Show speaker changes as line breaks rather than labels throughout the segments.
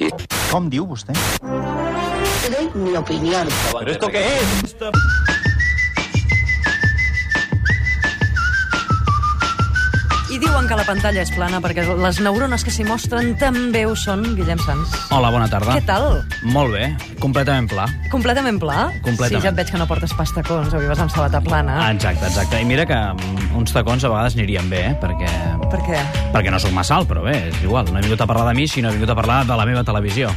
I...
Com diu vostè?
Te doy mi opinión.
Però esto què és?
I diuen que la pantalla és plana perquè les neurones que s'hi mostren també ho són, Guillem Sans.
Hola, bona tarda.
Què tal?
Molt bé, completament pla.
Completament pla?
Completament.
Sí, ja et veig que no portes pas tacons, avui vas amb sabata plana.
Ah, exacte, exacte. I mira que mm, uns tacons a vegades anirien bé, eh? perquè...
Per què?
Perquè no sóc massa alt, però bé, és igual. No he vingut a parlar de mi, sinó he vingut a parlar de la meva televisió.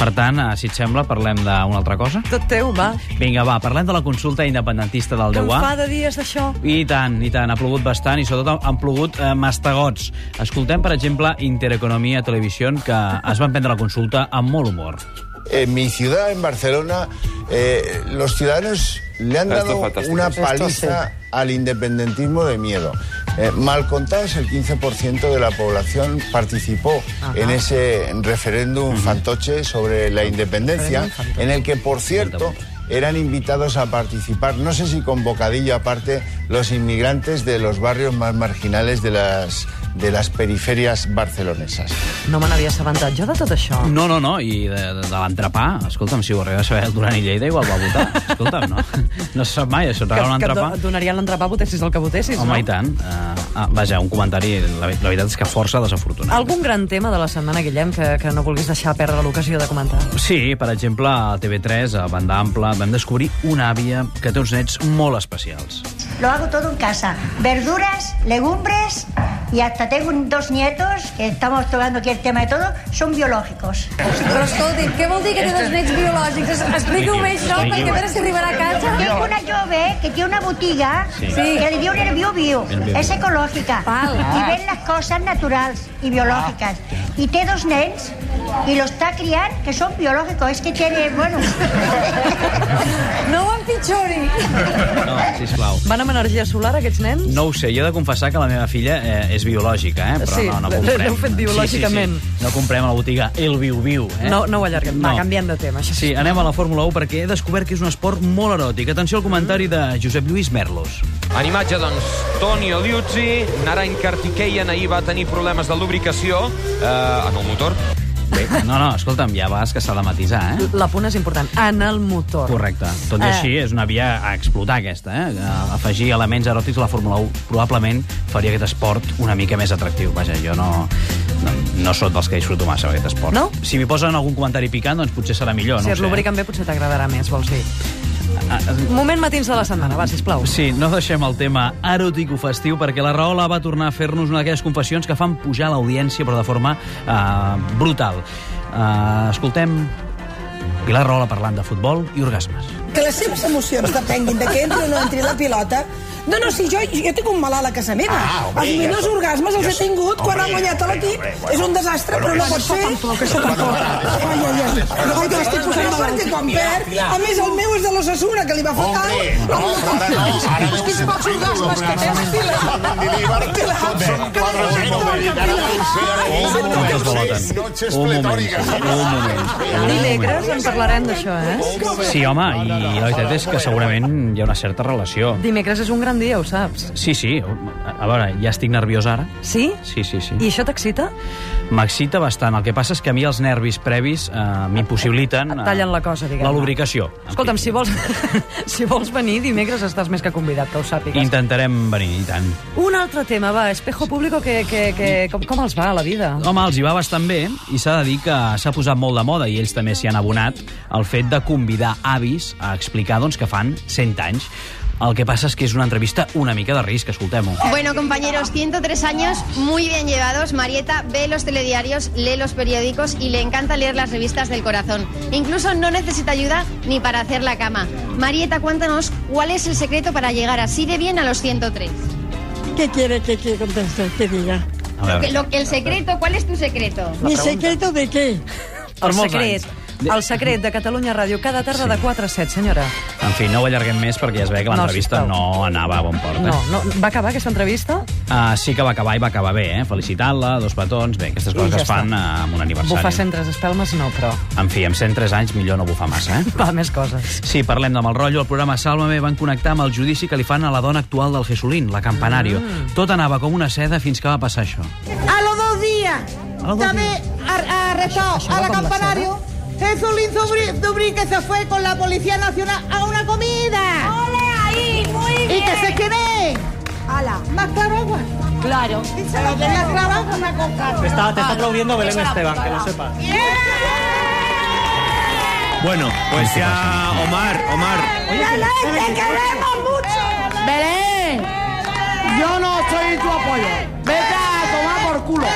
Per tant, eh, si et sembla, parlem d'una altra cosa.
Tot teu, va.
Vinga, va, parlem de la consulta independentista del
Que en
10A.
fa de dies, d'això.
I tant, i tant. Ha plogut bastant i sobretot han plogut eh, mastegots. Escoltem, per exemple, Intereconomia Televisió, que es van prendre la consulta amb molt humor.
En mi ciudad, en Barcelona, eh, los ciudadanos le han
Ah, Esto es
dado
fantástico.
una
Esto
paliza al independentismo de miedo. Eh, mal contados, el 15% de la población participó en ese referéndum fantoche sobre la independencia, en el que, por cierto, eran invitados a participar, no sé si con bocadillo aparte, los inmigrantes de los barrios más marginales de las, de las periferias barcelonesas.
No me n'havia assabentat jo de tot això.
No, no, no, i de, de, de l'entrepà, escolta'm, si ho arriba a saber el Duran i Lleida, igual va votar. Escolta'm, no, no se sap mai, això et
que,
regala un
que et do-
entrepà.
et donaria l'entrepà, votessis el que votessis,
Home, i
no?
tant. Uh, ah, vaja, un comentari, la, ve- la veritat és que força desafortunat.
Algun gran tema de la setmana, Guillem, que, que no vulguis deixar perdre l'ocasió de comentar?
Sí, per exemple, a TV3, a Banda Ampla, vam descobrir una àvia que té uns nets molt especials.
Lo hago todo en casa. Verduras, legumbres y hasta tengo un- dos nietos que estamos tocando aquí el tema de todo, son biológicos.
Però escolti, què vol dir que té dos nets biològics? Explica-ho bé, això, perquè a veure si arribarà a
Tengo
casa.
una jove que tiene una botiga
Sí.
que le dio el bio bio.
El bio.
Es ecológica.
Val.
Y ven las cosas naturales y biológicas.
Ah.
Y tiene dos nens y los está criando que son biológicos. Es que tiene, bueno...
No ho empitjori.
No, sisplau.
Van amb energia solar, aquests nens?
No ho sé, jo he de confessar que la meva filla eh, és biològica, eh? però
Sí,
no, no
l'he-
comprem.
l'heu fet biològicament.
Sí, sí, sí. No comprem a la botiga el viu-viu. Eh?
No- no ho allarguem. Va, canviem de tema, això.
Sí, anem a la Fórmula 1 perquè he descobert que és un esport molt eròtic. Atenció al comentari de Josep Lluís Merlos.
En imatge, doncs, Tonio Liuzzi, Narain Kartikeyan ahir va tenir problemes de lubricació eh, en el motor.
Bé, no, no, escolta'm, ja vas que s'ha de matisar, eh?
La punt és important. En el motor.
Correcte. Tot i
Eh.
així, és una via a explotar, aquesta. Eh? A- Afegir elements eròtics a la Fórmula 1 probablement faria aquest esport una mica més atractiu. Vaja, jo no, no, no sóc dels que disfruto massa aquest esport.
No?
Si m'hi posen algun comentari picant, doncs potser serà millor.
Si
no
et
ho sé.
lubriquen bé, potser t'agradarà més, vols dir. Moment matins de la setmana, va, sisplau.
Sí, no deixem el tema eròtic o festiu perquè la Rahola va tornar a fer-nos una d'aquelles confessions que fan pujar l'audiència però de forma eh, brutal. Eh, escoltem Pilar Rahola parlant de futbol i orgasmes.
que les seves emocions depenguin de que entri o no entri la pilota... No, no, si jo, jo tinc un malalt a casa meva.
Ah, home,
els millors
ja-
orgasmes els he tingut
hombre,
quan ha guanyat
hombre,
l'equip.
hombre, bueno.
és un desastre, però no pot ser. Que això tampoc. Ai, ai, ai. No, que l'estic posant malalt. Que quan perd... A més, el meu és de l'Ossassuna, que li va fotar...
Hombre, no, però ara no, ara no.
És que és pocs orgasmes que tens, Pilar. Pilar, que no és
Noches
Un moment,
pletòriques.
un moment.
Dimecres en parlarem d'això, eh?
Sí, home, i la veritat és que segurament hi ha una certa relació.
Dimecres és un gran dia, ho saps.
Sí, sí, a veure, ja estic nerviós ara.
Sí?
Sí, sí, sí.
I això t'excita?
M'excita bastant. El que passa és que a mi els nervis previs eh, m'impossibiliten... eh,
Et tallen la cosa, diguem-ne.
La lubricació.
Escolta'm, si vols, si vols venir, dimecres estàs més que convidat, que ho sàpigues.
Intentarem venir, i tant.
Un altre tema, va, espejo público, que, que, que, com, com els va a la vida?
Home, els hi va bastant bé i s'ha de dir que s'ha posat molt de moda i ells també s'hi han abonat el fet de convidar avis a explicar doncs, que fan 100 anys. El que passa és que és una entrevista una mica de risc, escoltem-ho.
Bueno, compañeros, 103 años muy bien llevados. Marieta ve los telediarios, lee los periódicos y le encanta leer las revistas del corazón. Incluso no necesita ayuda ni para hacer la cama. Marieta, cuéntanos cuál es el secreto para llegar así de bien a los 103.
¿Qué quiere que, que conteste? Que diga.
A veure.
Lo- el secreto, ¿cuál es tu secreto?
¿Mi secreto de qué?
El
per molts
secret,
anys.
el secret de Catalunya Ràdio, cada tarda de 4 a 7, senyora.
En fi, no ho allarguem més perquè ja es ve que
No,
l'entrevista
sisplau.
no anava a bon port. Eh?
No, no, va acabar aquesta entrevista?
Uh, sí que va acabar i va acabar bé, eh? Felicitant-la, dos petons, bé, aquestes coses
I ja
que es fan
està.
uh, amb un aniversari.
Bufar centres espelmes no, però
En fi, amb 103 anys millor no bufar massa, eh?
va, més coses.
Sí, parlem de mal rotllo. El programa Sálvame van connectar amb el judici que li fan a la dona actual del Jesulín, la Campanario. Mm. Tot anava com una seda fins que va passar això.
A los dos días
Llamé a, a Restao, a la campanario. Jesulín Dubri- Dubri que se fue con la Policía Nacional a una comida.
¡Ole ahí! ¡Muy bien!
Y que se quede. Ala. Más claro agua.
Claro.
Más claro agua, una coca.
Está, te está aplaudiendo Belén Esteban, que lo sepas.
Bueno, pues ya, Omar, Omar.
¡Belén, te queremos mucho! ¡Belén! Yo no soy tu apoyo. Vete a tomar por culo.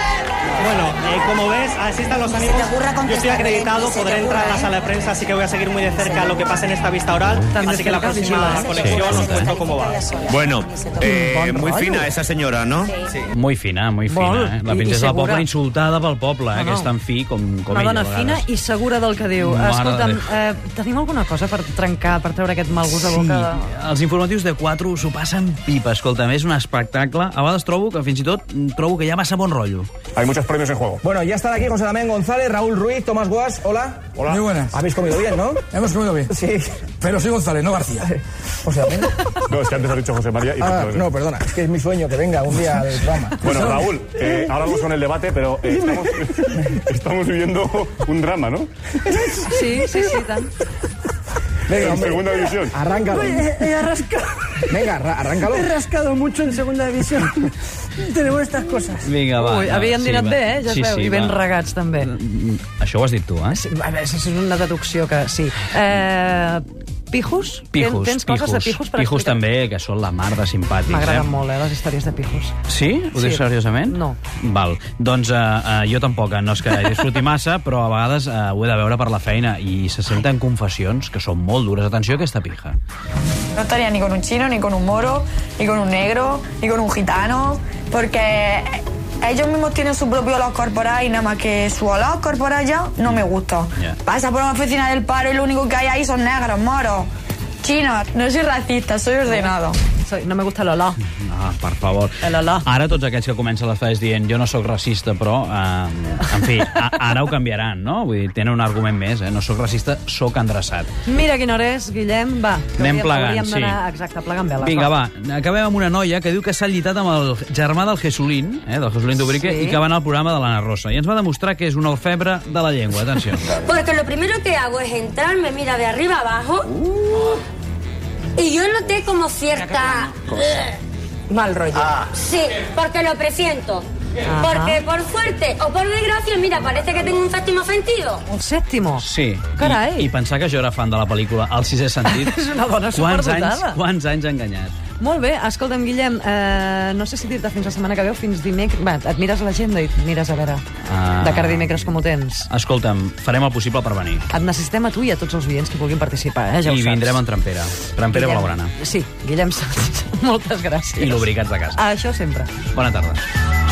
Bueno, eh, como ves, así están los ánimos. Yo
este
estoy acreditado, podré entrar a la sala de prensa, así que voy a seguir muy de cerca lo que pasa en esta vista oral. Así que la próxima conexión os cuento cómo va.
Bueno, eh, muy fina esa señora, ¿no?
Muy fina, muy fina.
Molt.
Eh? La
I- i
princesa del
segura.
poble insultada pel poble, eh?
No,
que
no.
és tan fi com, com
Una
ella.
dona
a
fina
vegades.
i segura del que diu.
Mare
Escolta'm,
de Déu.
eh, tenim alguna cosa per trencar, per treure aquest mal gust a boca?
Sí, els informatius de 4 s'ho passen pipa. Escolta, és un espectacle. A vegades trobo que fins i tot trobo que hi ha massa bon rotllo.
Hay muchos premios en juego.
Bueno, ya están aquí José Damián González, Raúl Ruiz, Tomás Guas. Hola.
Hola. Muy buenas.
Habéis comido bien, ¿no?
Hemos comido bien.
Sí.
Pero soy González, no García.
José Damián.
No, es que antes has dicho José María y
Ah, no, perdona. Es que es mi sueño que venga un día del programa.
Bueno, Raúl, eh, ahora vamos con el debate, pero eh, estamos, estamos viviendo un drama, ¿no?
Sí, sí, sí, i tant.
Venga,
en
hombre.
segunda división.
Arráncalo.
He rascado,
Venga, arra- arráncalo.
he rascado mucho en segunda división. Tenemos estas cosas.
Vinga, va.
Ui,
va,
havien
sí,
dinat
va.
bé, eh? Ja es
sí,
veu,
sí,
i ben
va.
regats, també.
Mm, Això ho has dit tu, eh? Sí,
A veure, si és una deducció que sí. Eh, pijos?
Pijos,
Tens, tens
pijos.
coses de pijos per
pijos
explicar?
també, que són la mar de simpàtics.
M'agraden
eh?
molt, eh, les històries de pijos.
Sí? Ho dius
Sí.
seriosament?
No.
Val. Doncs uh, uh, jo tampoc, eh, no és que hi disfruti massa, però a vegades uh, ho he de veure per la feina i se senten confessions que són molt dures. Atenció a aquesta pija.
No estaría ni con un chino, ni con un moro, ni con un negro, ni con un gitano, porque ellos mismos tienen su propio olor corporal y nada más que su olor corporal ya no me gusta.
Ya.
Pasa por una oficina del paro y lo único que hay ahí son negros, moros, chinos. No soy racista, soy ordenado.
Soy- No me gusta el olor.
Ah, per favor.
Eh,
Ara tots aquells que comencen les frases dient jo no sóc racista, però... Eh, en fi, a, ara ho canviaran, no? Vull dir, tenen un argument més, eh? No sóc racista, sóc endreçat.
Mira quina hora és, Guillem. Va, que
Anem
hauríem-
plegant,
hauríem
sí.
d'anar- Exacte, plegant veles.
Vinga, va, acabem amb una noia que diu que s'ha llitat amb el germà del Jesulín, eh, del Jesulín d'Ubrique,
Sí.
i que va anar al programa de l'Anna Rosa. I ens va demostrar que és un alfebre de la llengua, atenció.
Porque lo primero que hago es entrar, me mira de arriba abajo.
Uh.
Y yo noté como cierta.
Mal rollo.
Ah.
Sí, porque lo presiento.
Ajá.
Porque por suerte o por desgracia, mira, parece que tengo un séptimo sentido.
Un sèptimo?
Sí.
Carai.
I, I pensar que jo era fan de la pel·lícula El sisè sentit.
És una dona
quants
superdotada.
anys, quants anys ha enganyat?
Molt bé, escolta'm, Guillem, eh, no sé si dir-te fins la setmana que veu, fins dimecres... Va, et mires l'agenda i et mires a veure
Ah.
de cara a dimecres com ho tens.
Escolta'm, farem el possible per venir.
Et necessitem a tu i a tots els oients que vulguin participar, eh? Ja ho
I
saps.
vindrem en Trampera. Trampera
Guillem.
Blaugrana.
Sí, Guillem Sanz. Moltes gràcies.
I lubricats de casa.
Això sempre.
Bona tarda.